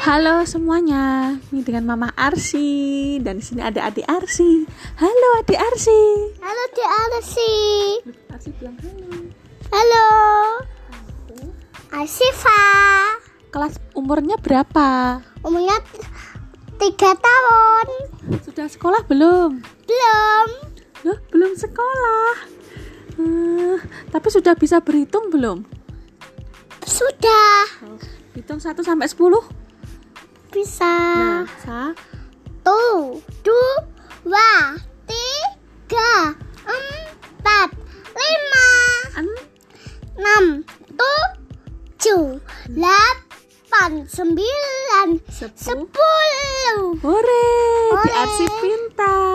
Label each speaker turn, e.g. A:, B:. A: Halo semuanya, ini dengan Mama Arsi dan di sini ada Adik Arsi. Halo Adik Arsi.
B: Halo Tia Alsi.
A: Arsi bilang halo.
B: Halo. Asifa.
A: Kelas umurnya berapa?
B: Umurnya t- tiga tahun.
A: Sudah sekolah belum?
B: Belum.
A: Loh, belum sekolah. Eh, tapi sudah bisa berhitung belum?
B: Sudah.
A: Hitung 1 sampai 10?
B: Bisa.
A: Nah, sa-
B: Satu, dua, tiga, empat, lima,
A: an-
B: enam, tujuh, delapan, sembilan,
A: Sepuluh.
B: sepuluh.
A: Hore, Adik
B: Hore.
A: Arsi pintar.